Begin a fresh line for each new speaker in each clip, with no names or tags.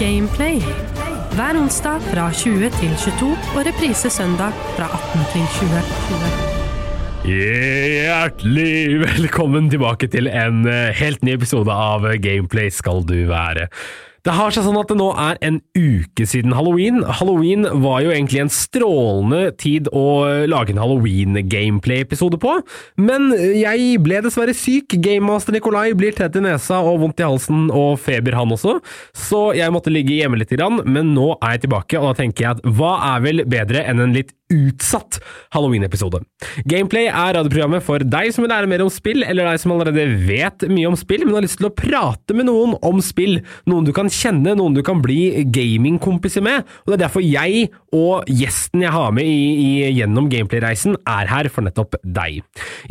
Gameplay. Hver onsdag fra 20 til 22 og reprise søndag fra 18 til 20.
Hjertelig velkommen tilbake til en eh, helt ny episode av eh, Gameplay skal du være. Det har seg sånn at det nå er en uke siden halloween. Halloween var jo egentlig en strålende tid å eh, lage en halloween-gameplay-episode på, men eh, jeg ble dessverre syk. Gamemaster Nikolai blir tett i nesa og vondt i halsen og feber han også, så jeg måtte ligge hjemme litt, grann, men nå er jeg tilbake, og da tenker jeg at hva er vel bedre enn en litt utsatt Halloween-episode. Gameplay er radioprogrammet for deg som vil lære mer om spill, eller deg som allerede vet mye om spill, men har lyst til å prate med noen om spill. Noen du kan kjenne, noen du kan bli gamingkompiser med. Og Det er derfor jeg og gjesten jeg har med i, i, gjennom Gameplay-reisen, er her for nettopp deg.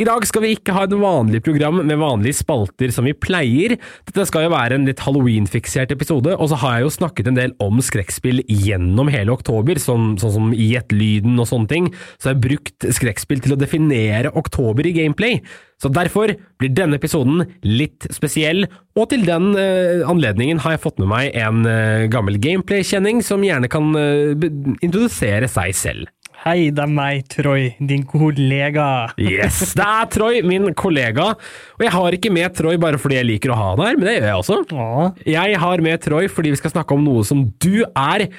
I dag skal vi ikke ha et vanlig program med vanlige spalter som vi pleier. Dette skal jo være en litt Halloween-fiksert episode, og så har jeg jo snakket en del om skrekkspill gjennom hele oktober, sånn, sånn som i Gjettlyden og sånne ting, så har jeg brukt skrekkspill til å definere oktober i gameplay. Så derfor blir denne episoden litt spesiell, og til den eh, anledningen har jeg fått med meg en eh, gammel gameplay-kjenning som gjerne kan eh, be- introdusere seg selv.
Hei, det er meg, Troy, din kollega.
Yes, det er Troy, min kollega, og jeg har ikke med Troy bare fordi jeg liker å ha han her, men det gjør jeg også.
Å,
Jeg har med Troy fordi vi skal snakke om noe som du er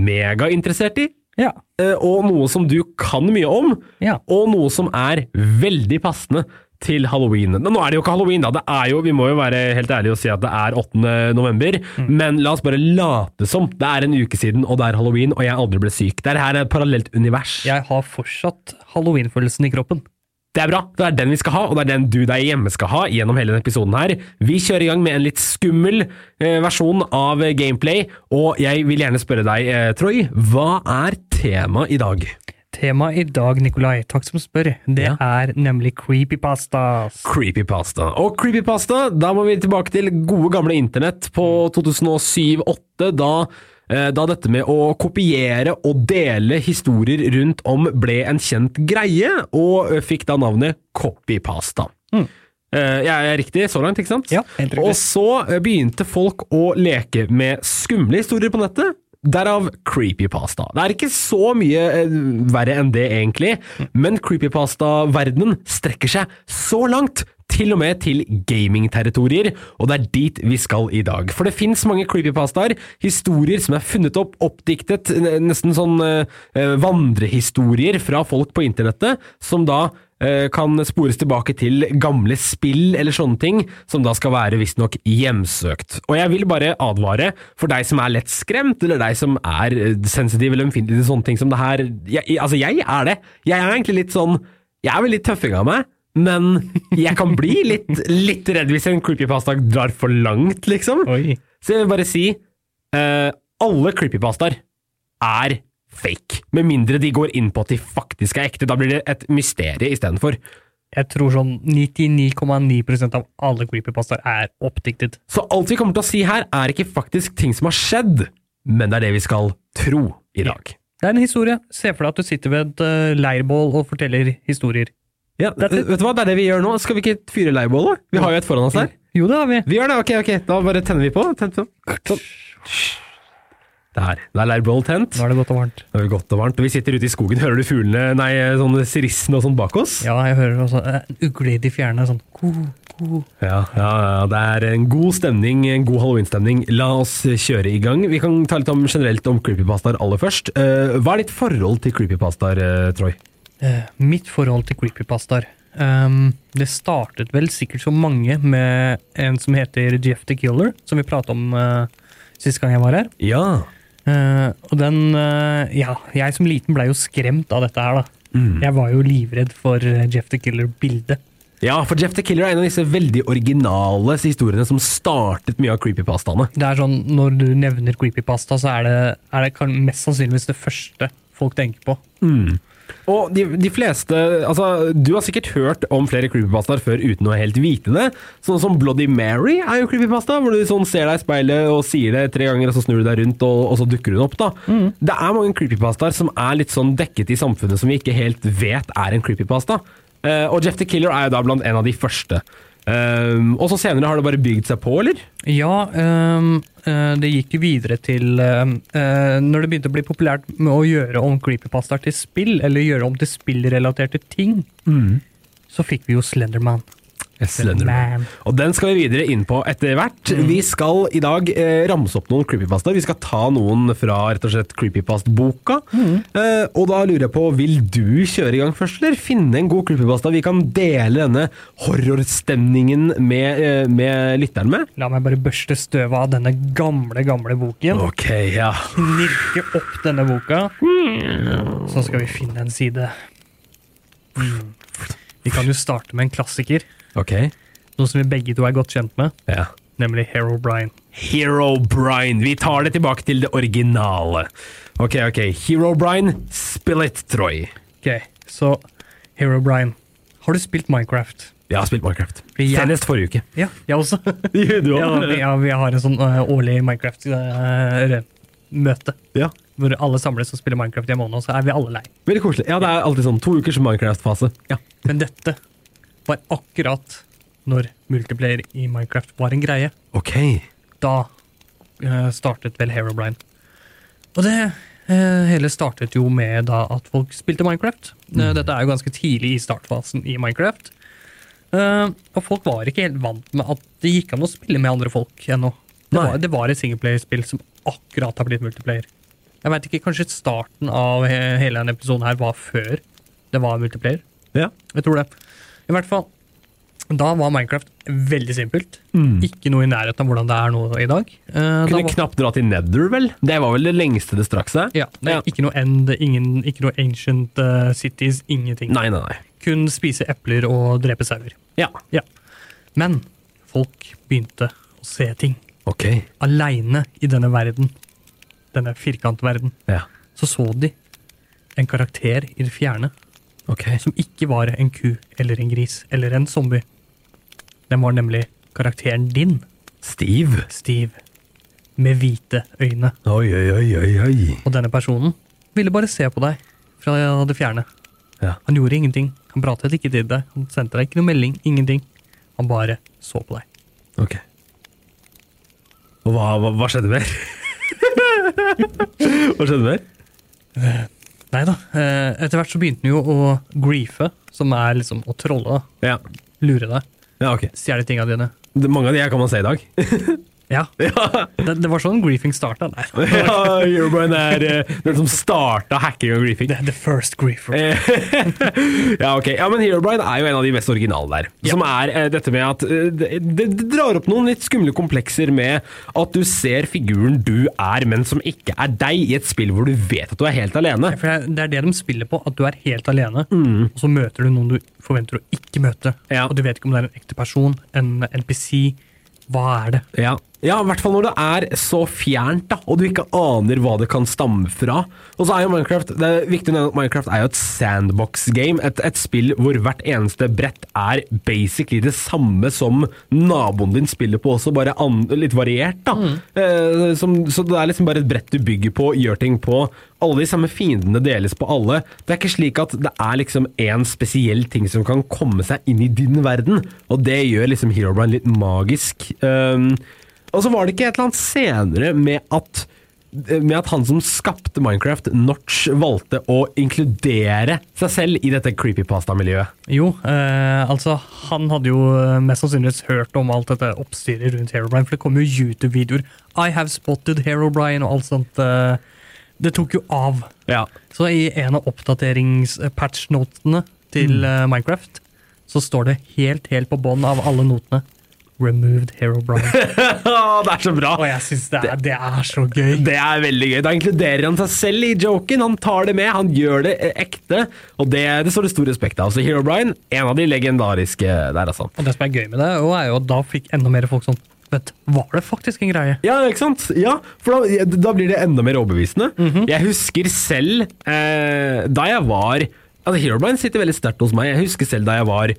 megainteressert i,
ja.
eh, og noe som du kan mye om,
Ja.
og noe som er veldig passende til halloween. Nå er det jo ikke halloween, da. Det er jo, vi må jo være helt ærlige og si at det er 8. november, men la oss bare late som. Det er en uke siden, og det er halloween, og jeg aldri ble syk. Det her er et parallelt univers.
Jeg har fortsatt halloweenfølelsen i kroppen.
Det er bra. Det er den vi skal ha, og det er den du der hjemme skal ha gjennom hele denne episoden her. Vi kjører i gang med en litt skummel eh, versjon av eh, gameplay, og jeg vil gjerne spørre deg, eh, Troy, hva er temaet i dag?
Temaet i dag, Nikolai, takk som spør, det
Ja.
er nemlig creepypastas.
Creepypasta. Og creepypasta, da må vi tilbake til gode gamle internett på 2007-2008, da, eh, da dette med å kopiere og dele historier rundt om ble en kjent greie, og eh, fikk da navnet copypasta. Eh, Jeg er riktig så langt, ikke sant?
Ja, helt riktig.
Og så eh, begynte folk å leke med skumle historier på nettet. Derav creepypasta. Det er ikke så mye eh, verre enn det, egentlig, men creepypasta-verdenen strekker seg så langt, til og med til gamingterritorier, og det er dit vi skal i dag. For det fins mange creepypastaer, historier som er funnet opp, oppdiktet, n- nesten sånn eh, eh, vandrehistorier fra folk på internettet, som da eh, kan spores tilbake til gamle spill eller sånne ting, som da skal være visstnok hjemsøkt. Og jeg vil bare advare for deg som er lett skremt, eller deg som er eh, sensitiv eller ømfintlig til sånne ting som det her. Jeg, jeg- altså, jeg er det. Jeg er egentlig litt sånn Jeg er vel litt tøffing av meg. Men jeg kan bli litt, litt redd hvis en creepypasta drar for langt, liksom.
Oi.
Så jeg vil bare si eh, alle creepypastaer er fake. Med mindre de går inn på at de faktisk er ekte. Da blir det et mysterium istedenfor.
Jeg tror sånn 99,9 av alle creepypastaer er oppdiktet.
Så alt vi kommer til å si her, er ikke faktisk ting som har skjedd, men det er det vi skal tro i dag.
Det er en historie. Se for deg at du sitter ved et eh, leirbål og forteller historier.
Ja,
That's it.
Vet du hva, det er det vi gjør nå. Skal vi ikke fyre leirbålet? Vi har jo et foran oss her.
Jo, det har vi.
Vi gjør det, ok, ok. Da bare tenner vi på. Tent på. Sånn. Der. Da er leirbålet tent.
Nå er det godt og varmt.
Det er godt og varmt. Og vi sitter ute i skogen. Hører du fuglene, nei, sånn sirissene og sånn bak oss?
Ja, jeg hører også eh, en ugle i de fjerne sånn ko, ko.
Ja, ja, ja, det er en god stemning, en god Halloween-stemning. La oss kjøre i gang. Vi kan ta litt om generelt om creepypastaer aller først. Eh, hva er ditt forhold til creepypastaer, eh, Troy?
Eh, mitt forhold til creepypastaer Ehm, Det startet vel sikkert som mange med en som heter Jeff the Killer, som vi pratet om uh, sist gang jeg var her.
Ja.
Eh, og den eh, Ja, jeg som liten blei jo skremt av dette her, da. Jeg var jo livredd for eh, Jeff the Killer-bildet.
Ja, for Jeff the Killer er en av disse veldig originale historiene som startet mye av creepypastaene.
Det er sånn, Når du nevner creepypasta, så er det, er det kan- mest sannsynligvis det første folk tenker på.
Og de, de fleste Altså, du har sikkert hørt om flere creepypastaer før uten å helt vite det. Sånn som Bloody Mary er jo creepypasta, hvor du sånn ser deg i speilet og sier det tre ganger, og så snur du deg rundt, og, og så dukker hun opp, da. Det er mange creepypastaer som er litt sånn dekket i samfunnet, som vi ikke helt vet er en creepypasta. Eh, og Jeff the Killer er jo da blant en av de første. Eh, og så senere har det bare bygd seg på, eller?
Ja, ehm, eh, det gikk videre til eh, eh, Når det begynte å bli populært med å gjøre om creepypastaer til spill, eller gjøre om til spillrelaterte ting, så fikk vi jo Slenderman.
Slenderman.
Man.
Og den skal vi videre inn på etter hvert. Vi skal i dag eh, ramse opp noen creepypastaer. Vi skal ta noen fra rett og slett creepypast-boka. Eh, og da lurer jeg på, vil du kjøre i gang først, eller finne en god creepypasta vi kan dele denne horrorstemningen med, eh, med lytteren med?
La meg bare børste støvet av denne gamle, gamle boken.
Ok, ja.
Knirke opp denne boka. Så skal vi finne en side. Mm. Vi kan jo starte med en klassiker,
Ok,
noe som vi begge to er godt kjent med,
ja.
nemlig Hero Brian.
Hero Brian. Vi tar det tilbake til det originale. Ok, ok. Hero Brian, spill it, Troy.
Ok, så Hero Brian, har du spilt Minecraft?
Jeg har spilt Minecraft.
Ja.
Senest forrige uke.
Ja, jeg også.
Du
ja, vi, ja, vi har en sånn eh, årlig Minecraft-møte.
Ja.
hvor alle samles og spiller Minecraft i en måned, og så er vi alle lei.
Veldig koselig. Ja, det er alltid sånn to ukers Minecraft-fase. Ja.
Men dette var akkurat når multiplayer i Minecraft var en greie.
Ok.
Da eh, startet vel Herobrine. Og det eh, hele startet jo med da at folk spilte Minecraft. Eh, Dette er jo ganske tidlig i startfasen i Minecraft. Eh, og folk var ikke helt vant med at det gikk an å spille med andre folk ennå. Det
Nei.
var, det var et singleplayerspill som akkurat har blitt multiplayer. Jeg veit ikke, kanskje starten av he hele denne episoden her var før det var multiplayer.
Ja.
Jeg tror det. I hvert fall, da var Minecraft veldig simpelt. Ikke noe i nærheten av hvordan det er nå i dag. Eh, da
Mm. Kunne
var,
knapt dra til Nether, vel? Det var vel det lengste det strakk seg?
ja, det er
Ja.
Ikke noe end, ingen, ikke noe ancient eh, cities, ingenting.
Nei, nei, nei.
Kun spise epler og drepe sauer.
Ja.
Ja. Men folk begynte å se ting.
Ok.
Aleine i denne verden, denne firkantverden,
Ja.
så så de en karakter i det fjerne
Ok.
som ikke var en ku eller en gris eller en zombie. Den var nemlig karakteren din,
Steve.
Steve, med hvite øyne.
Oi, oi, oi, oi, oi.
Og denne personen ville bare se på deg fra det fjerne.
Ja.
Han gjorde ingenting. Han pratet ikke til deg. Han sendte deg ikke noe melding. Ingenting. Han bare så på deg.
Ok. Og hva, hva, hva skjedde mer? hva skjedde mer?
Nei da. Eh, Etter hvert så begynte han jo å griefe, som er liksom å trolle. da.
Ja.
Lure deg.
Ja, ok.
Stjele tinga dine.
Det, mange av de her kan man se i dag.
Ja. Det, det var sånn griefing starta. Nei.
ja, Eurobrine er eh, den som starta hacking og griefing.
The, the first griefer.
Eh, Ja, ok. Ja, men Herobrine er jo en av de mest originale der. Som er eh, dette med at eh, det, det det drar opp noen litt skumle komplekser med at du ser figuren du er, men som ikke er deg, i et spill hvor du vet at du er helt alene.
For det er, det er det de spiller på, at du er helt alene, og så møter du noen du forventer å ikke møte.
Ja.
Og du vet ikke om det er en ekte person, en NPC. Hva er det?
Ja. ja, i hvert fall når det er så fjernt, da, og du ikke aner hva det kan stamme fra. Og så er jo Minecraft Det er viktig å nevne at Minecraft er jo et sandbox-game. Et, et spill hvor hvert eneste brett er basically det samme som naboen din spiller på, også bare an, litt variert, da. Eh, som, så det er liksom bare et brett du bygger på, gjør ting på. Alle de samme fiendene deles på alle. Det er ikke slik at det er liksom én spesiell ting som kan komme seg inn i din verden, og det gjør liksom Herobrine litt magisk. Um, og så var det ikke et eller annet senere med at med at han som skapte Minecraft, Notch, valgte å inkludere seg selv i dette creepypasta-miljøet.
Jo, eh, altså, han hadde jo eh, mest sannsynligvis hørt om alt dette oppstyret rundt Herobrine, for det kom jo YouTube-videoer. I have spotted Herobrine og alt sånt. eh, det tok jo av.
Ja.
Så i en av oppdaterings-patch-notene til eh, Minecraft, så står det helt, helt på bånn av alle notene 'Removed Herobrine'.
det er så bra!
Og jeg syns det, er- det er så gøy.
Det er veldig gøy. Da inkluderer han seg selv i joken. Han tar det med, han gjør det eh, ekte. Og det, det står det stor respekt av. Så Hero Brian, en av de legendariske der, altså.
Og det som er gøy med det, og er jo at da fikk enda mer folk sånn Vet var det faktisk en greie?
Ja, ikke sant? Ja, for da, da blir det enda mer overbevisende.
Mhm.
Jeg husker selv eh, da jeg var Altså, Herobrine sitter veldig sterkt hos meg. Jeg husker selv da jeg var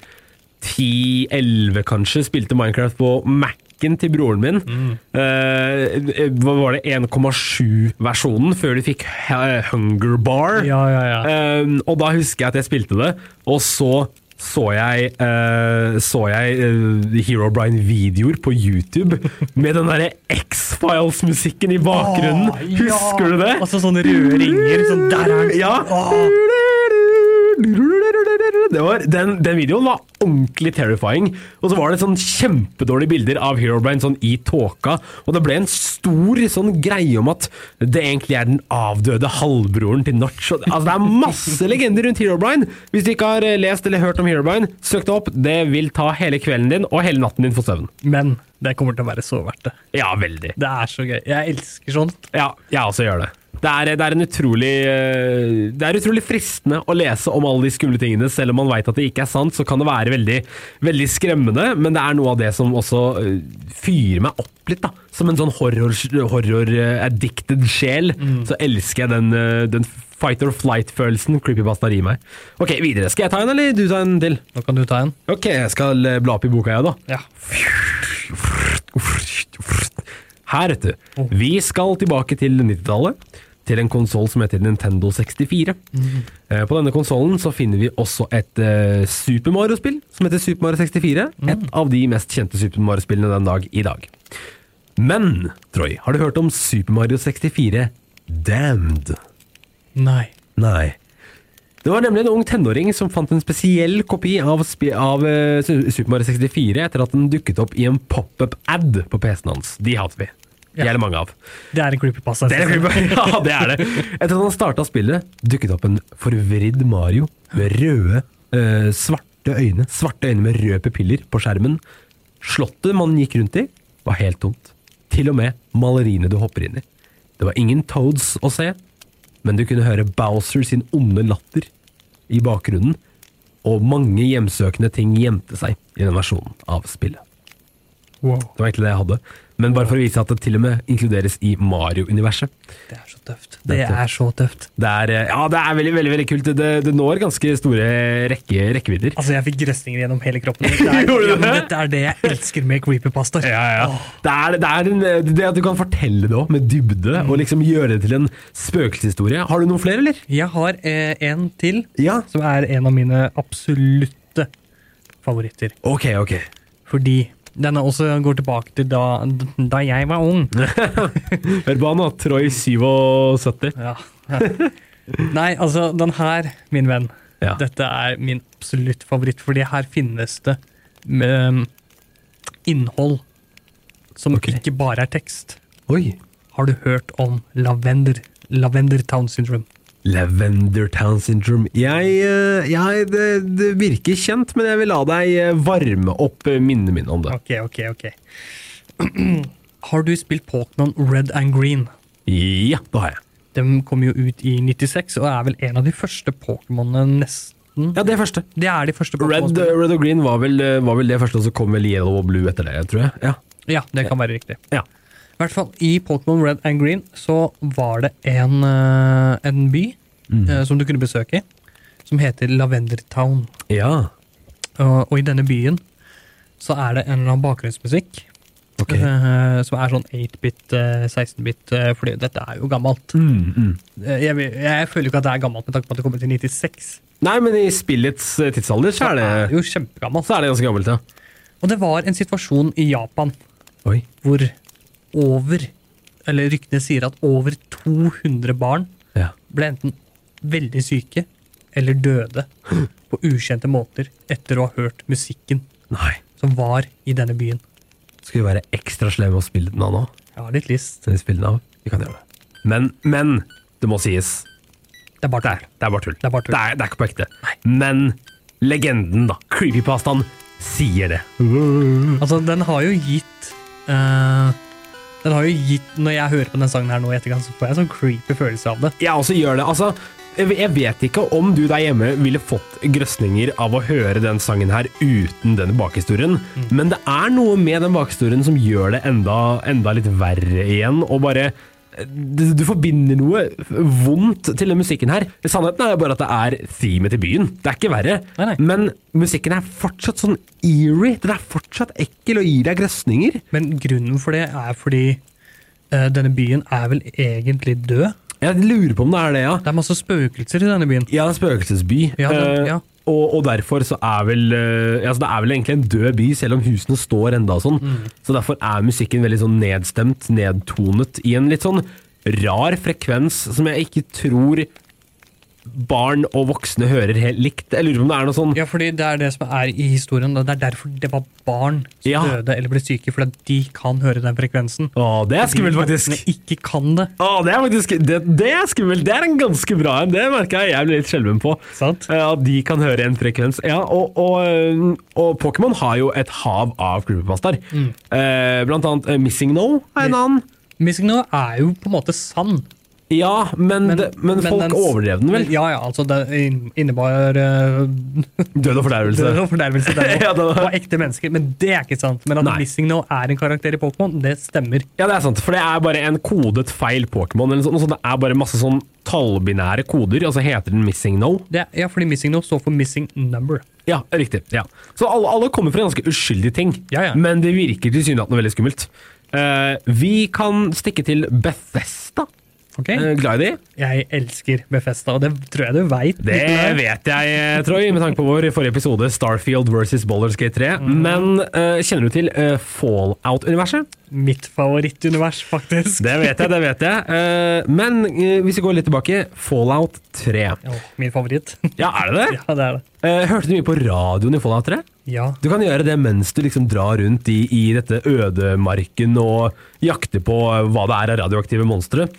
10-11, kanskje, spilte Minecraft på Mac-en til broren min.
Mm.
Eh, hva var det 1,7-versjonen før du fikk eh, Hunger Bar?
Ja, ja, ja.
Ehm, Eh, og da husker jeg at jeg spilte det, og så så jeg, eh, så jeg eh, Herobrine-videoer på YouTube med den derre X-Files-musikken i bakgrunnen.
Åh, ja.
Husker du det?
Altså sånne røde ringer. Sånn, der er den.
Ja.
Åh.
Det var, den, den videoen var ordentlig terrifying. Og så var det sånn kjempedårlige bilder av Herobrine sånn i tåka. Og det ble en stor sånn greie om at det egentlig er den avdøde halvbroren til Notch. Og- Altså, det er masse legender rundt Herobrine! Hvis du ikke har eh, lest eller hørt om Herobrine, søk det opp. Det vil ta hele kvelden din og hele natten din for søvn.
Men det kommer til å være så verdt det.
Ja, veldig.
Det er så gøy. Jeg elsker sånt.
Ja, jeg også gjør det. Det er, det er en utrolig eh, Det er utrolig fristende å lese om alle de skumle tingene. Selv om man veit at det ikke er sant, så kan det være veldig, veldig skremmende. Men det er noe av det som også eh, fyrer meg opp litt. da Som en sånn horror-addicted sjel. Så elsker jeg den, eh, den fight or flight-følelsen creepypasta gir meg. Ok, videre. Skal jeg ta en, eller du tar en til?
Nå kan du ta en.
Ok, jeg skal eh, bla opp i boka, jeg, da.
Ja.
Her, vet du. Vi skal tilbake til 90-tallet. Til en konsoll som heter Nintendo 64. Eh, På denne konsollen så finner vi også et eh, Super Mario-spill som heter Super Mario 64. Et av de mest kjente Super Mario-spillene den dag i dag. Men, Troy, har du hørt om Super Mario 64 Damned?
Nei.
Nei. Det var nemlig en ung tenåring som fant en spesiell kopi av, spi- av eh, Su- Super Mario 64 etter at den dukket opp i en pop-up-ad på PC-en hans. De hater vi. De
Ja.
er det mange av.
Det er en creepypasta.
Det er det vi- ja, det er det. Etter at han starta spillet, dukket opp en forvridd Mario med røde, eh, svarte øyne. Svarte øyne med røde pupiller på skjermen. Slottet man gikk rundt i, var helt tomt. Til og med maleriene du hopper inn i. Det var ingen Toads å se, men du kunne høre Bowser sin onde latter i bakgrunnen. Og mange hjemsøkende ting gjemte seg i den versjonen av spillet.
Wow.
Det var egentlig det jeg hadde. Men bare for å vise at det til og med inkluderes i Mario-universet.
Det er så tøft.
Det
Det
er tøft.
er så tøft.
Det er, eh, ja, det er veldig, veldig, veldig kult. Det, det når ganske store rekke, rekkevidder.
Altså, jeg fikk grøsninger gjennom hele kroppen. Dette er,
Gjorde du
ja, men
det?
dette er det jeg elsker med creepypastaer. Åh,
Det, er, det, er en, eh, det at du kan fortelle det òg, med dybde, og liksom gjøre det til en spøkelseshistorie. Har du noen flere, eller?
Jeg har eh, en til,
Ja.
som er en av mine absolutte favoritter.
Ok, ok.
Fordi denne også går tilbake til da, da jeg var ung.
Hør på han da. Troy 77.
Ja. Nei, altså, den her, min venn,
Ja.
dette er min absolutt favoritt, fordi her finnes det mm, innhold som
Ok.
ikke bare er tekst.
Oi.
Har du hørt om lavender? Lavender Town Syndrome.
Lavender Town Syndrome. Jeg, eh, jeg det, det virker kjent, men jeg vil la deg eh, varme opp eh, minnet mitt om det.
Ok, ok, ok. Har du spilt Pokémon Red and Green?
Ja, det har jeg.
De kom jo ut i 96 og er vel en av de første Pokémonene nesten.
Ja, det første.
Det er de første
Red, eh,
Pokémon-spillene.
Red og Green var vel, eh, var vel det første, og så kom vel Yellow og Blue etter det, tror jeg. Ja.
Ja, det kan være riktig.
Ja.
I hvert fall i Pokémon Red and Green så var det en, eh, en by
Mm.
eh, som du kunne besøke, som heter Lavender Town. Og, og i denne byen så er det en eller annen bakgrunnsmusikk
Ok.
eh, som er sånn 8-bit, eh, 16-bit, eh, fordi dette er jo gammelt.
Mm,
Eh, Jeg, vil- jeg føler jo ikke at det er gammelt med tanke på at det kommer til 96.
Nei, men i spillets eh, tidsalder så er det,
Det er jo kjempegammelt.
så er det ganske gammelt, ja.
Og det var en situasjon i Japan
Oi.
hvor over, eller ryktene sier at over 200 barn
Ja.
ble enten veldig syke eller døde på ukjente måter etter å ha hørt musikken
Nei.
som var i denne byen.
Skal vi være ekstra slemme og spille den av nå?
Jeg har litt lyst.
Skal vi spille den av? Vi kan gjøre det. Men, men, det må sies.
Det er bare
Det er,
der.
det er bare tull.
Det er bare tull.
Det er, det er ikke på ekte. Men legenden, da. Creepypastaen sier det.
Altså, den har jo gitt eh, Den har jo gitt Når jeg hører på den sangen her nå i etterkant, så får jeg en sånn creepy følelse av det.
Jeg også gjør det. Altså, jeg jeg vet ikke om du der hjemme ville fått grøsninger av å høre den sangen her uten den bakhistorien,
Mm.
men det er noe med den bakhistorien som gjør det enda, enda litt verre igjen, og bare eh, du, du forbinder noe vondt til den musikken her. Sannheten er jo bare at det er themet til byen. Det er ikke verre.
Nei, nei.
Men musikken er fortsatt sånn eerie. Den er fortsatt ekkel og gir deg grøsninger.
Men grunnen for det er fordi eh, denne byen er vel egentlig død?
Jeg lurer på om det er det, ja.
Det er masse spøkelser i denne byen.
Ja, det er en spøkelsesby.
Ja, det-
Eh,
ja.
Og, og derfor så er vel eh, altså Det er vel egentlig en død by, selv om husene står enda og sånn.
Mm.
Så derfor er musikken veldig sånn nedstemt, nedtonet, i en litt sånn rar frekvens som jeg ikke tror barn og voksne hører helt likt. Jeg lurer på om det er noe sånn
Ja, fordi det er det som er i historien. da. Det er derfor det var barn som
Ja.
døde eller ble syke, fordi at de kan høre den frekvensen.
Å, det er skummelt, faktisk!
Men ikke kan det.
Å, det er faktisk det, det er skummelt! Det er en ganske bra en. Det merka jeg jeg ble litt skjelven på.
Sant?
Eh, At de kan høre en frekvens. Ja, og, og, eh, og Pokémon har jo et hav av klubbemaster.
Mm.
Eh, blant annet eh, Missing No er en annen.
Missing No er jo på en måte sann.
Ja, men,
Men,
det, men, folk
den-
overdrev den vel?
Ja, ja, altså det in- innebar eh,
Død og fordervelse.
død og fordervelse. Det
Ja, det var-
var ekte mennesker, men det er ikke sant. Men at
Nei.
Missing No er en karakter i Pokémon, det stemmer.
Ja, det er sant, for det er bare en kodet feil Pokémon. eller noe sånt. Det er bare masse sånn tallbinære koder, og så heter den Missing No.
Det, ja, fordi Missing No står for Missing Number.
Ja, riktig. Ja. Så alle, alle kommer fra ganske uskyldige ting,
Ja, ja.
men det virker tilsynelatende veldig skummelt. Eh, vi kan stikke til Bethesda.
Ok?
Eh, glad i de?
Jeg elsker Befesta, og det tror jeg du veit.
Det vet jeg, eh, Troy, med tanke på vår forrige episode, Starfield versus Ballerskate 3. Men eh, kjenner du til eh, Fallout-universet?
Mitt favorittunivers, faktisk.
Det vet jeg, det vet jeg. Eh, men eh, hvis vi går litt tilbake, Fallout 3.
Åh, min favoritt.
Ja, er det det?
ja, det er det.
Eh, hørte du mye på radioen i Fallout 3?
Ja.
Du kan gjøre det mens du liksom drar rundt i, i dette ødemarken og jakter på eh, hva det er av radioaktive monstre.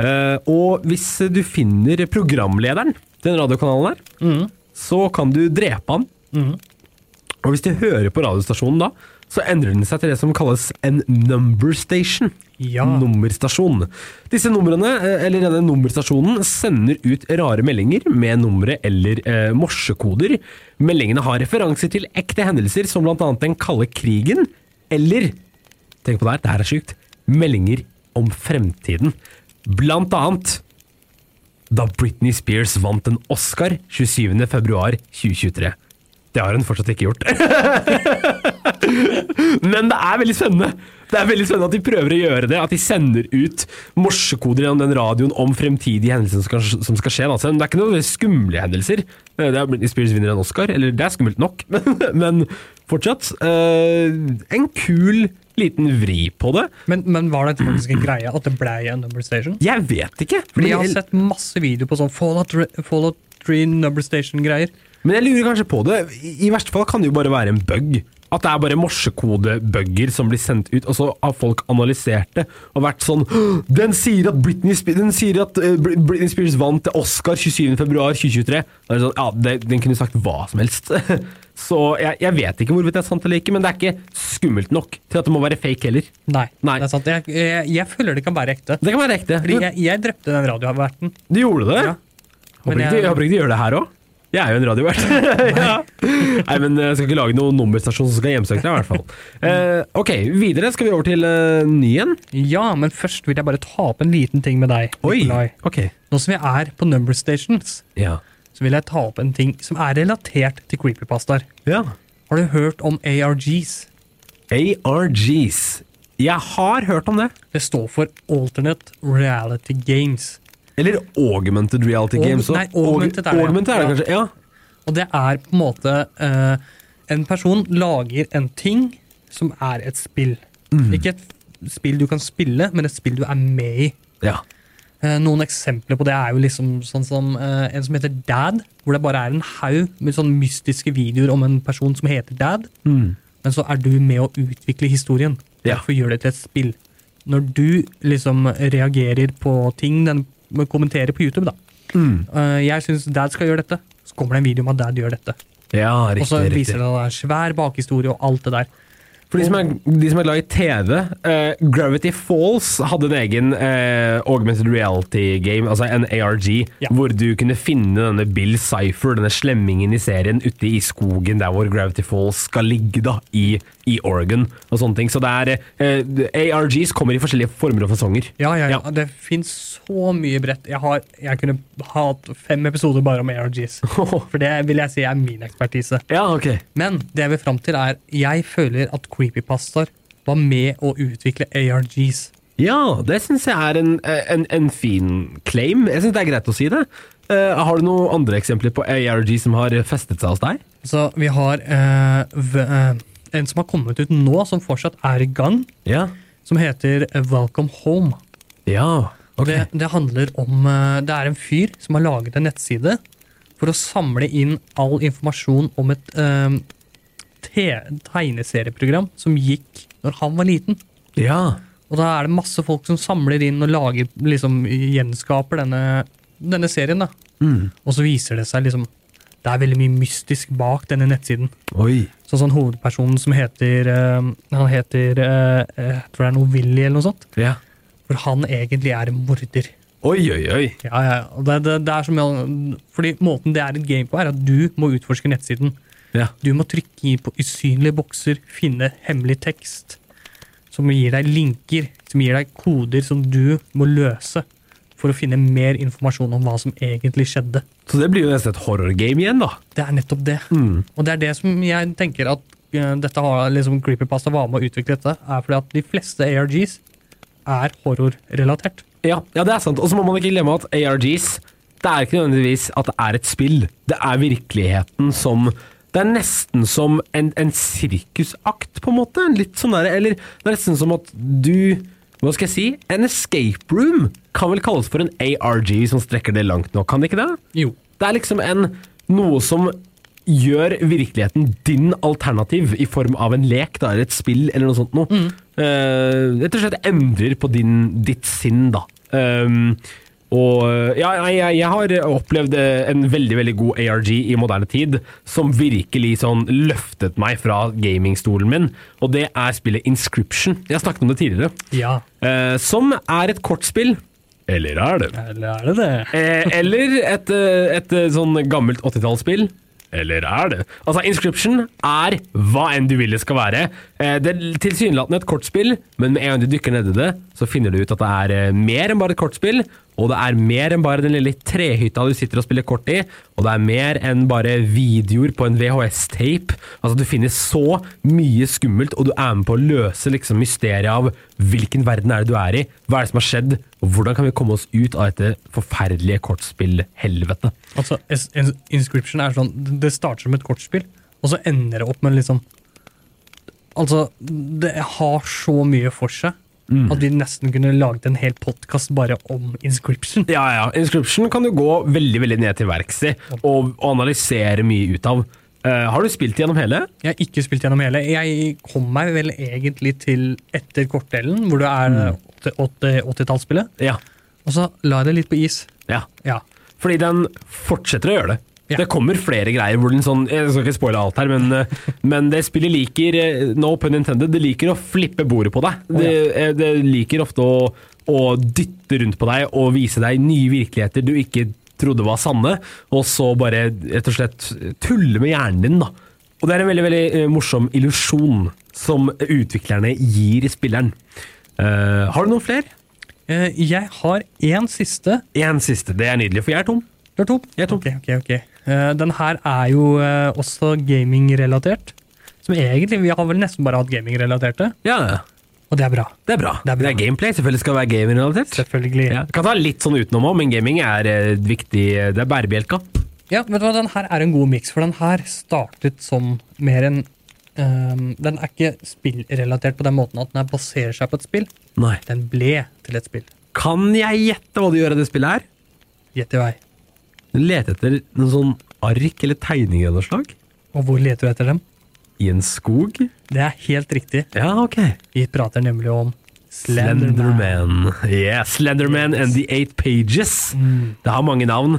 Eh, og hvis du finner programlederen til den radiokanalen her, så kan du drepe han. Og hvis du hører på radiostasjonen da, så endrer den seg til det som kalles en number station.
Ja.
Nummerstasjon. Disse numrene, eh, eller denne nummerstasjonen, sender ut rare meldinger med numre eller eh, morsekoder. Meldingene har referanser til ekte hendelser som bl.a. den kalde krigen, eller Tenk på det her, det her er sjukt. Meldinger om fremtiden. Blant annet da Britney Spears vant en Oscar 27.2.2023. Det har hun fortsatt ikke gjort. Men det er veldig spennende. Det er veldig spennende at de prøver å gjøre det. At de sender ut morsekoder gjennom den radioen om fremtidige hendelser som skal, som skal skje. da. Så Det er ikke noen skumle hendelser. Eh, Det er Britney Spears vinner en Oscar, eller det er skummelt nok, men, men fortsatt eh, En kul liten vri på det.
Men, men var det faktisk en greie at det blei en number station?
Jeg vet ikke.
Fordi jeg har
men-
sett masse video på sånn Fallout, Re- Fallout 3 number station-greier.
Men jeg lurer kanskje på det. I i verste fall kan det jo bare være en bug. At det er bare morsekodebugger som blir sendt ut, og så har folk analysert det og vært sånn «Åh, Den sier at Britney, Spe den sier at eh, Br- Britney Spears vant til Oscar 27.2.2023. Da er det Sånn, ja, det, den kunne sagt hva som helst. så jeg, jeg vet ikke hvorvidt det er sant eller ikke, men det er ikke skummelt nok til at det må være fake heller.
Nei,
Nei.
det er sant. Jeg, jeg, jeg føler det kan være ekte.
Det kan være ekte.
Fordi
Du,
jeg, jeg drepte den radioverten.
du gjorde det?
Ja.
Håper
Men
ikke,
jeg-
jeg håper ikke de gjør det her òg. Jeg er jo en radiovert. ja. Nei, men jeg skal ikke lage noen nummerstasjon som skal hjemsøke deg, i hvert fall. Eh, ok, videre skal vi over til uh, Nyen.
Ja, men først vil jeg bare ta opp en liten ting med deg. Nikolai.
Ok.
Nå som vi er på number stations,
Ja.
så vil jeg ta opp en ting som er relatert til creepypastaer.
ja.
Har du hørt om ARGs?
ARGs. Jeg har hørt om det.
Det står for Alternate Reality Games.
Eller Augmented Reality
Aug-
Games. også.
nei, augmented er det,
Aug-
ja.
Augmented er det kanskje, ja.
Og det er på en måte eh, En person lager en ting som er et spill. Ikke et f- spill du kan spille, men et spill du er med i.
Ja.
Eh, noen eksempler på det er jo liksom sånn som eh, en som heter Dad, hvor det bare er en haug med sånn mystiske videoer om en person som heter Dad. Men så er du med å utvikle historien.
Ja.
Derfor gjør det til et spill. Når du liksom reagerer på ting den kommenterer på YouTube, da.
Mm.
Eh, jeg syns Dad skal gjøre dette. Så kommer det en video om at Dad gjør dette.
Ja,
Og så
riktig. riktig.
viser det at det er svær bakhistorie og alt det der.
For de som er, de som er glad i TV, eh, Gravity Falls hadde en egen eh, augmented reality game, altså en ARG,
Ja.
hvor du kunne finne denne Bill Cipher, denne slemmingen i serien, ute i skogen der hvor Gravity Falls skal ligge, da, i, i Oregon og sånne ting. Så det er eh, ARGs kommer i forskjellige former og fasonger.
Ja, ja, ja.
Ja.
Det fins så mye bredt. Jeg, har, jeg kunne hatt fem episoder bare om ARGs. For det vil jeg si er min ekspertise.
Ja, ok.
Men det jeg vil fram til, er jeg føler at creepypastaer var med å utvikle ARGs.
eh, Ja, det syns jeg er en, en, en fin claim. Jeg syns det er greit å si det. Eh, har du noen andre eksempler på ARG som har festet seg hos deg?
Så vi har eh, v eh, en som har kommet ut nå, som fortsatt er i gang,
Ja.
som heter eh, Welcome Home.
Ja, ok.
Det, det handler om eh, Det er en fyr som har laget en nettside for å samle inn all informasjon om et eh, te tegneserieprogram som gikk når han var liten.
Ja.
Og da er det masse folk som samler inn og lager, liksom, gjenskaper denne, denne serien. da.
Mm.
Og så viser det seg liksom Det er veldig mye mystisk bak denne nettsiden.
Oi.
Så sånn hovedpersonen som heter eh, Han heter eh, Jeg tror det er noe Willy eller noe sånt.
Ja.
For han egentlig er en morder.
Oi, oi, oi.
Ja, ja, ja. Og Det, det, det er som, fordi måten det er et game på, er at du må utforske nettsiden.
Ja.
Du må trykke i på usynlige bokser, finne hemmelig tekst, som gir deg linker, som gir deg koder som du må løse for å finne mer informasjon om hva som egentlig skjedde.
Så det blir jo nesten et horrorgame igjen, da.
Det er nettopp det. Og det er det som jeg tenker at eh, dette har liksom Creepypasta var med å utvikle dette, er fordi at de fleste ARGs er horrorrelatert.
Ja, ja det er sant. Og så må man ikke glemme at ARGs det er ikke nødvendigvis at det er et spill. Det er virkeligheten som Det er nesten som en, en sirkusakt, på en måte. Litt sånn der, Eller det er nesten som at du Hva skal jeg si? En escape room kan vel kalles for en ARG hvis man strekker det langt nok, kan det ikke det?
Jo.
Det er liksom en noe som gjør virkeligheten din alternativ i form av en lek da, eller et spill eller noe sånt noe. Eh, rett og slett endrer på din, ditt sinn, da. Um, og ja, nei, jeg, jeg har opplevd eh, en veldig veldig god ARG i moderne tid, som virkelig sånn løftet meg fra gamingstolen min, og det er spillet Inscription. Jeg har snakket om det tidligere.
Ja.
eh, som er et kortspill. Eller er det?
Eller er det det?
Eh, eller et, eh, et eh, sånn gammelt 80-tallsspill. Eller er det? Altså, Inscription er hva enn du vil det skal være. Eh, Det er tilsynelatende et kortspill, men med en gang du dykker ned i det, så finner du ut at det er eh, mer enn bare et kortspill, og det er mer enn bare den lille trehytta du sitter og spiller kort i, og det er mer enn bare videoer på en VHS-tape. Altså, du finner så mye skummelt, og du er med på å løse liksom mysteriet av hvilken verden er det du er i, hva er det som har skjedd, og hvordan kan vi komme oss ut av dette forferdelige kortspillhelvetet?
Altså, es- en- Inscription er sånn Det starter som et kortspill, og så ender det opp med liksom Altså, det har så mye for seg at vi nesten kunne laget en hel podkast bare om Inscription.
Ja, ja. Inscription kan du gå veldig veldig ned til verks i, og analysere mye ut av. Eh, har du spilt gjennom hele?
Jeg har ikke spilt gjennom hele. Jeg kom meg vel egentlig til etter kortdelen, hvor det er 80- 80-tallsspillet,
Ja.
og så la jeg det litt på is.
ja.
Ja.
Fordi den fortsetter å gjøre det.
Ja.
Det kommer flere greier hvor den sånn Jeg skal ikke spoile alt her, men, eh, men det spillet liker eh, No pun intended. Det liker å flippe bordet på deg. Det, eh, det liker ofte å, å dytte rundt på deg og vise deg nye virkeligheter du ikke trodde var sanne, og så bare rett og slett tulle med hjernen din, da. Og det er en veldig, veldig eh, morsom illusjon som utviklerne gir spilleren. Eh, har du noen flere?
Eh, Jeg har én siste.
Én siste. Det er nydelig, for jeg er tom.
Du er tom?
Jeg er tom.
Ok, ok, ok. Eh, den her er jo eh, også gaming-relatert. Som egentlig, Vi har vel nesten bare hatt gaming-relaterte,
Ja,
og det er bra.
Det er bra.
Det er bra.
gameplay. Selvfølgelig skal det være gaming-relatert.
Selvfølgelig.
Ja.
Ja,
Kan ta litt sånn utenom òg, men gaming er eh, viktig. eh, Det er bærebjelka.
vet du hva, Den her er en god miks, for den her startet som mer en ehm, Den er ikke spillrelatert på den måten at den her baserer seg på et spill.
Nei.
Den ble til et spill.
Kan jeg gjette hva du gjør i det spillet her?
Gjett i vei.
Du leter etter noen sånn ark eller tegninger av noe slag?
Og hvor leter du etter dem?
I en skog?
Det er helt riktig.
Ja, ok.
Vi prater nemlig om Slenderman.
Slenderman. Mm. Yeah, Slenderman and the Eight Pages. Det har mange navn.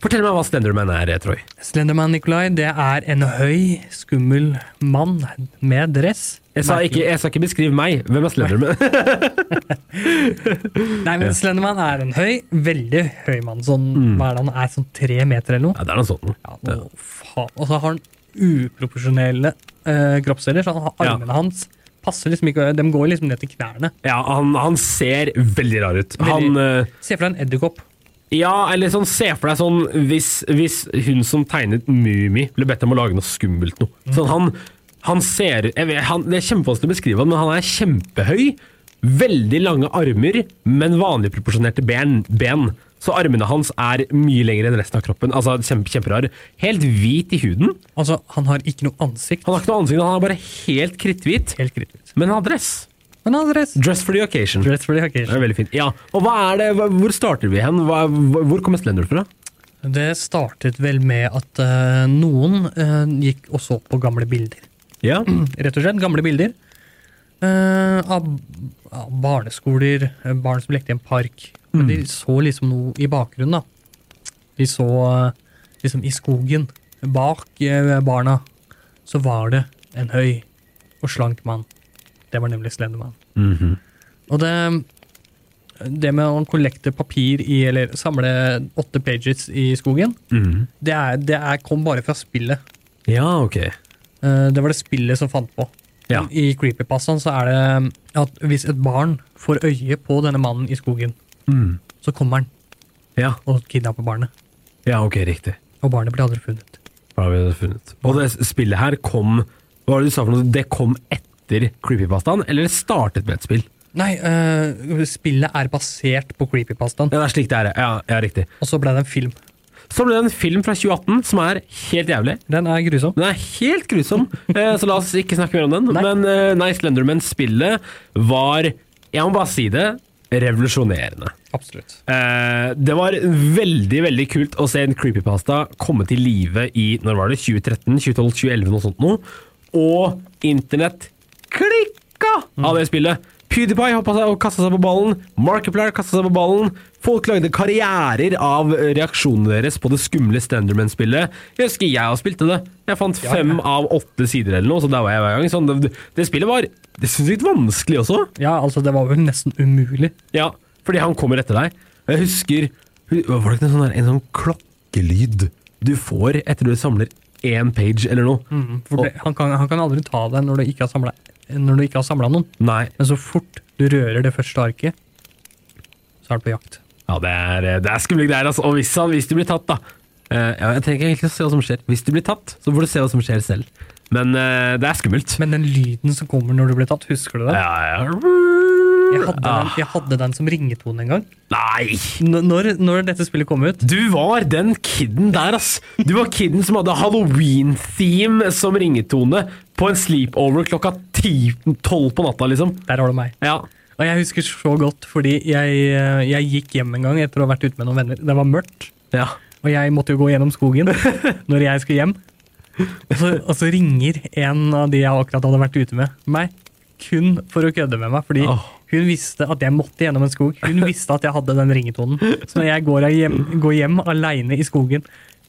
Fortell meg hva Slenderman er, eh, Troy.
Slenderman Nikolai, det er en høy, skummel mann med dress.
Jeg sa ikke, jeg sa ikke beskriv meg. Hvem er Slenderman?
Nei, men Slenderman er en høy, veldig høy mann. Sånn, Hva er det han er? Sånn tre meter eller noe?
Mm. ja, det er noe sånt.
Ja, å, faen. Og så har han uproporsjonelle eh, kroppsdeler, så han har
Ja.
armene hans passer liksom ikke, De går liksom ned til knærne.
Ja, han, han ser veldig rar ut. Han... eh,
Se for deg en edderkopp.
Ja, eller sånn, se for deg sånn hvis, hvis hun som tegnet Mumi ble bedt om å lage noe skummelt noe. Sånn, han, han ser jeg vet, han, Det er kjempevanskelig å beskrive han, men han er kjempehøy. Veldig lange armer, men vanlig proporsjonerte ben. ben. Så armene hans er mye lengre enn resten av kroppen. Altså, kjempe, Kjemperar. Helt hvit i huden.
Altså, han har ikke noe ansikt.
Han har ikke noe ansikt, han er bare helt kritthvit.
Helt kritthvitt.
Men han har dress.
Men han har dress.
Dress for the occasion.
Dress for the
Det
occasion.
er veldig fint. Ja, og hva er det, hva- Hvor starter vi hen? Hva, hva- hvor kommer Slender fra?
Det startet vel med at eh, noen eh, gikk og så på gamle bilder.
Ja.
Rett og slett gamle bilder eh, av, av barneskoler, eh, barn som lekte i en park. Men de så liksom noe i bakgrunnen, da. De så eh, liksom i skogen, bak eh, barna, så var det en høy og slank mann. Det var nemlig Slenderman.
Mm-hmm.
Og det det med å kollekte papir i, eller samle åtte pages i skogen,
Mhm.
det, er, det er, kom bare fra spillet.
Ja, ok.
Eh, Det var det spillet som fant på.
Ja.
I Creepypastaen så er det at hvis et barn får øye på denne mannen i skogen,
Mm.
så kommer han
Ja.
og kidnapper barnet.
ja, ok, riktig.
Og barnet blir aldri funnet.
Hva har vi funnet? Og det spillet her kom Hva var det du sa for noe? Det kom etter Creepypastaen, eller det startet med et spill?
Nei, eh, spillet er basert på Creepypastaen,
Ja, det er slik det er, ja. ja riktig.
og så ble det en film.
Så ble det en film fra 2018 som er helt jævlig.
Den er grusom.
Den er helt grusom, eh, så la oss ikke snakke mer om den.
Nei.
Men eh, nei, Slenderman-spillet var Jeg må bare si det revolusjonerende.
Absolutt.
Eh, det var veldig veldig kult å se en creepypasta komme til live i når var det, 2013, 2012, 2011, noe sånt noe. Og internett klikka av det spillet! PewDiePie hoppa seg og kasta seg på ballen. Markiplier kasta seg på ballen. Folk lagde karrierer av reaksjonene deres på det skumle Standerman-spillet. Jeg husker jeg også spilte det. Jeg fant
Ja, ja.
fem av åtte sider eller noe, så der var jeg hver gang. Sånn, det, det spillet var det synes jeg var vanskelig også.
Ja, altså, det var vel nesten umulig.
Ja, fordi han kommer etter deg. Og Jeg husker hu- Var det ikke en sånn, der, en sånn klokkelyd du får etter du samler én page eller noe?
For det, han, kan, han kan aldri ta deg når du ikke har samla- når du ikke har samla noen.
Og, nei.
Men så fort du rører det første arket, så er du på jakt.
Ja, det er, det er skumle greier, altså. Og hvis, han, hvis du blir tatt, da eh, ja, Jeg trenger egentlig ikke å se hva som skjer. Hvis du blir tatt, så får du se hva som skjer selv. Men eh, det er skummelt.
Men den lyden som kommer når du blir tatt, husker du det?
ja, ja.
Jeg hadde den,
Ah,
jeg hadde den som ringetone en gang.
Nei!
N når, når dette spillet kom ut
Du var den kidden der, ass! Du var kidden som hadde halloween-theme som ringetone på en sleepover klokka 10 12 på natta, liksom.
Der har du meg.
Ja.
Og jeg husker så godt, fordi jeg, eh, jeg gikk hjem en gang etter å ha vært ute med noen venner. Det var mørkt,
Ja.
og jeg måtte jo gå gjennom skogen når jeg skulle hjem. Og så, og så ringer en av de jeg akkurat hadde vært ute med, meg. Kun for å kødde med meg, fordi
Åh.
hun visste at jeg måtte gjennom en skog. Hun visste at jeg hadde den ringetonen. Så når jeg går hjem, går hjem aleine i skogen,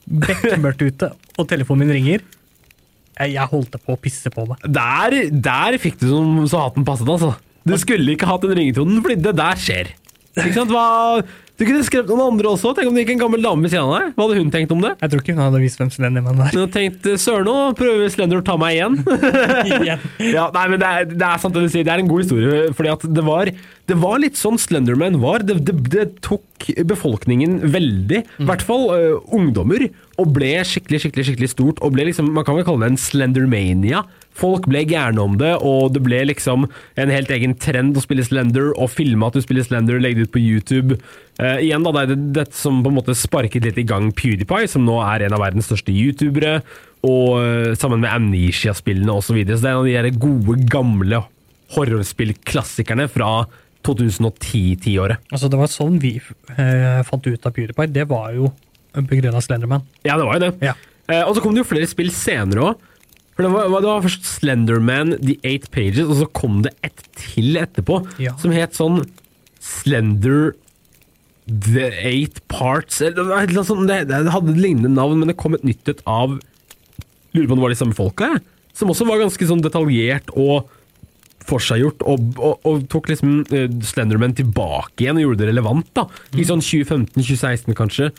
bekmørkt ute, og telefonen min ringer Jeg, jeg holdt på å pisse på meg.
Der, der fikk du som så hatten passet, altså. Du skulle ikke hatt den ringetonen, fordi det der skjer. Ikke sant? Hva, du kunne skremt noen andre også. Tenk om det gikk en gammel dame ved siden av deg. Hva hadde hun tenkt om det?
Jeg tror ikke hun hadde visst hvem Slenderman var.
Hun hadde tenkt søren nå prøver Slender å ta meg igjen.
Igjen.
ja, nei, men det er, det er sant det du sier. Det er en god historie. Fordi at det var, det var litt sånn Slenderman var. Det, det, det tok befolkningen veldig, i hvert fall eh, ungdommer, og ble skikkelig, skikkelig skikkelig stort. Og ble liksom, Man kan vel kalle det en Slendermania. Folk ble gærne om det, og det ble liksom en helt egen trend å spille Slender, og filme at du spiller Slender, legge det ut på YouTube. Eh, igjen da, Det er det- dette som på en måte sparket litt i gang PewDiePie, som nå er en av verdens største youtubere og eh, sammen med Amnesia-spillene osv. Så, videre. så det er en av de der gode, gamle horrorspillklassikerne fra 2010-tiåret.
Altså, det var sånn vi eh, fant ut av PewDiePie. Det var jo begrunna Slenderman.
Ja, det var jo det.
Ja.
Eh, og så kom det jo flere spill senere òg. For det var, det var først Slenderman, The Eight Pages, og så kom det et til etterpå
Ja.
som het sånn Slender The Eight Parts eller, det var et eller annet sånt, det, det hadde et lignende navn, men det kom et nytt et av Lurer på om det var de samme folka, jeg. Som også var ganske sånn detaljert og forseggjort, og, og, og tok liksom eh, Slenderman tilbake igjen og gjorde det relevant, da.
Mm.
I sånn 2015-2016, kanskje.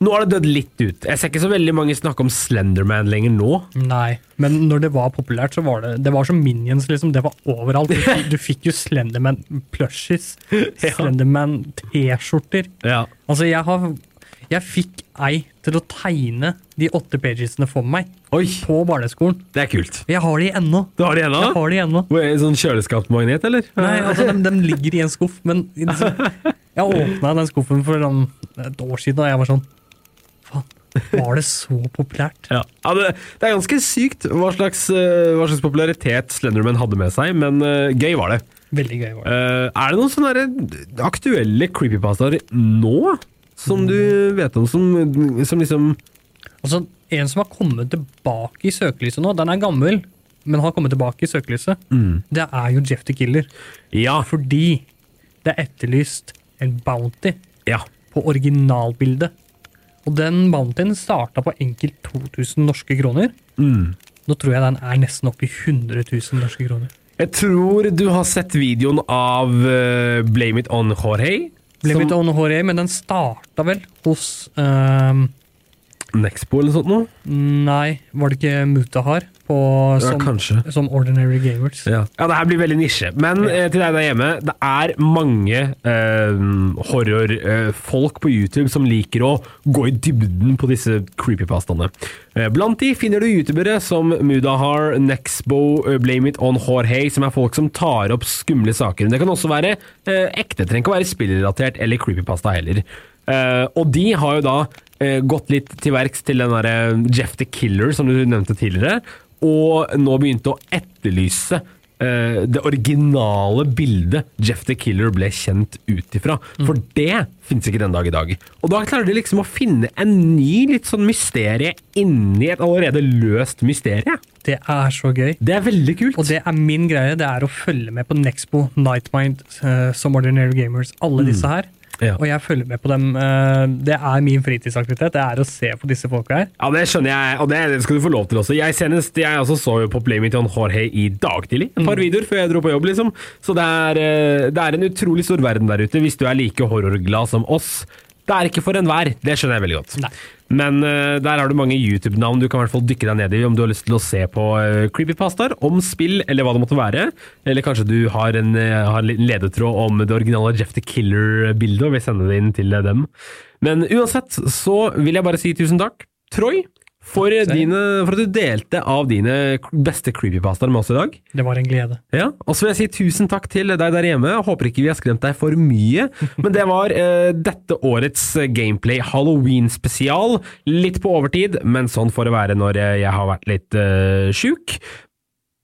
Nå har det dødd litt ut. Jeg ser ikke så veldig mange snakke om Slenderman lenger nå.
Nei, men når det var populært, så var det Det var som Minions, liksom. Det var overalt. Du, fikk- du fikk jo Slenderman-plushies.
Ja.
Slenderman-T-skjorter.
Ja.
Altså, jeg har Jeg fikk ei til å tegne de åtte pagesene for meg
Oi,
på barneskolen.
det er kult.
Jeg har de ennå.
Du har det igjen,
Jeg
da?
har de ennå.
Hvor er det Sånn kjøleskapsmagnet, eller?
Nei, altså, de, de ligger i en skuff, men liksom, jeg åpna den skuffen for sånn det er et år siden, og jeg var sånn Faen, var det så populært?
Ja. det, det er ganske sykt hva slags, eh, hva slags popularitet Slenderman hadde med seg, men eh, gøy var det.
Veldig gøy. var det.
Eh, er det noen sånne der aktuelle creepypastaer nå som du vet om, som, som liksom
Altså, en som har kommet tilbake i søkelyset nå, den er gammel, men har kommet tilbake i søkelyset,
Mm.
det er jo Jeff the Killer.
Ja.
Fordi det er etterlyst en bounty
ja.
på originalbildet. Og den bountyen starta på enkelt 2000 norske kroner.
Mm.
Nå tror jeg den er nesten oppe i 100 000 norske kroner.
Jeg tror du har sett videoen av eh, Blame It On Jorge.
Ble
som-
mitt on håret, men den starta vel hos ehm,
Nexpo eller noe sånt noe?
Nei, var det ikke Mutahar på,
Ja,
som,
kanskje.
som Ordinary Gamers?
Ja. det her blir veldig nisje. Men eh, til deg der hjemme, det er mange eh, horrorfolk på YouTube som liker å gå i dybden på disse creepypastaene. Eh, blant de finner du youtubere som Mudahar, Nexbo, eh, Blame It On Jorge, som er folk som tar opp skumle saker. Men det kan også være eh, ekte, trenger ikke å være spillrelatert eller creepypasta heller. Eh, og de har jo da eh, gått litt til verks til den derre Jeff the Killer som du nevnte tidligere, og nå begynte å etterlyse eh, det originale bildet Jeff the Killer ble kjent ut ifra.
Mm.
For det fins ikke den dag i dag. Og da klarer de liksom å finne en ny litt sånn mysterie inni et allerede løst mysterie.
Det er så gøy.
Det er veldig kult.
Og det er min greie, det er å følge med på Nexpo, Nightmind, eh, som Ordinary Gamers, alle disse her.
Ja.
Og jeg følger med på dem. eh, Det er min fritidsaktivitet, det er å se på disse folka her.
Ja, det skjønner jeg, og det, det skal du få lov til også. Jeg senest, jeg også så jo på Playmate on Jorge i dag tidlig. Et par videoer før jeg dro på jobb, liksom. Så det er, eh, det er en utrolig stor verden der ute, hvis du er like horrorglad som oss. Det er ikke for enhver, det skjønner jeg veldig godt.
Nei.
Men eh, der har du mange YouTube-navn du kan i hvert fall dykke deg ned i om du har lyst til å se på eh, creepypastaer, om spill eller hva det måtte være. Eller kanskje du har en, eh, har en liten ledetråd om det originale Jeff the Killer-bildet og vil sende det inn til eh, dem. Men uansett så vil jeg bare si tusen takk, Troy, for, eh,
Selv.
dine, for at du delte av dine beste creepypastaer med oss i dag.
Det var en glede.
Ja, og så vil jeg si tusen takk til deg der hjemme. Jeg Håper ikke vi har skremt deg for mye. Men det var eh, dette årets eh, Gameplay Halloween-spesial. Litt på overtid, men sånn får det være når eh, jeg har vært litt eh, sjuk.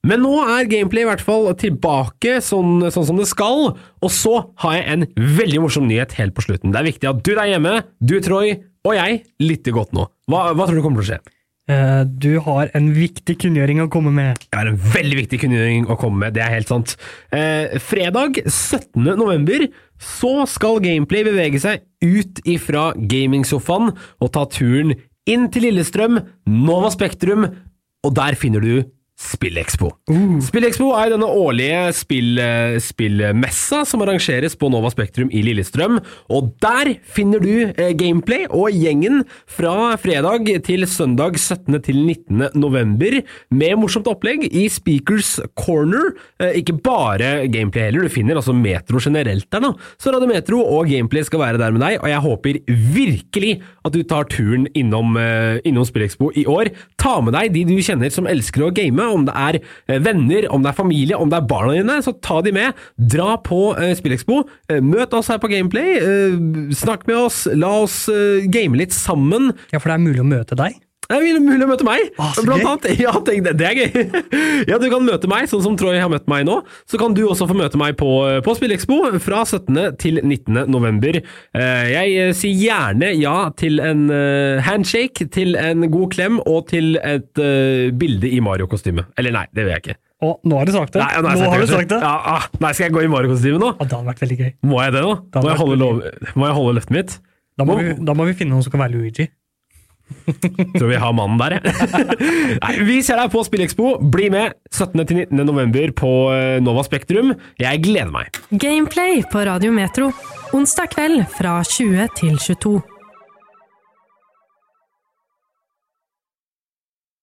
Men nå er gameplay i hvert fall tilbake sånn, sånn som det skal, og så har jeg en veldig morsom nyhet helt på slutten. Det er viktig at du der hjemme, du Troy og jeg lytter godt nå. Hva, hva tror du kommer til å skje?
Eh, Du har en viktig kunngjøring å komme med.
Det er en veldig viktig kunngjøring å komme med, det er helt sant. Eh, fredag 17. november så skal Gameplay bevege seg ut ifra gamingsofaen og ta turen inn til Lillestrøm, Nova Spektrum, og der finner du Spillekspo. Spillekspo er denne årlige spill, eh, spillmessa som arrangeres på Nova Spektrum i Lillestrøm, og der finner du eh, gameplay og gjengen fra fredag til søndag 17. til 19. november med morsomt opplegg i Speakers Corner. Eh, Ikke bare gameplay heller, du finner altså Metro generelt der nå. Så Radio Metro og gameplay skal være der med deg, og jeg håper virkelig at du tar turen innom, eh, innom Spillekspo i år. Ta med deg de du kjenner som elsker å game, om det er eh, venner, om det er familie, om det er barna dine, så ta de med. Dra på eh, Spillekspo, eh, møt oss her på Gameplay, eh, snakk med oss, la oss eh, game litt sammen.
Ja, for det er mulig å møte deg.
Det er mulig å møte meg!
Ah, så
Blant
gøy.
annet. Ja, tenk det, det er gøy! Ja, du kan møte meg, sånn som Troy har møtt meg nå. Så kan du også få møte meg på, eh, på Spillekspo fra 17. til 19. november. Eh, Jeg eh, sier gjerne ja til en eh, handshake, til en god klem og til et eh, bilde i Mario-kostyme. Eller nei, det vil jeg ikke.
Å, nå har du sagt det!
Nei, nei,
nå har du
kanskje.
sagt det!
Ja, ah, nei, skal jeg gå i Mario-kostyme nå?
Å, det hadde vært veldig gøy.
Må jeg det nå?
Da
Må jeg
vet
holde,
du.
lov... Må jeg holde løftet mitt?
Da må,
Må-
vi, da må vi finne noen som kan være Luigi.
Tror vi har mannen der, jeg. Nei, vi ser deg på Spillekspo. Bli med 17.-19. november på eh, Nova Spektrum. Jeg gleder meg.
Gameplay på Radio Metro. Onsdag kveld fra 20 til 22.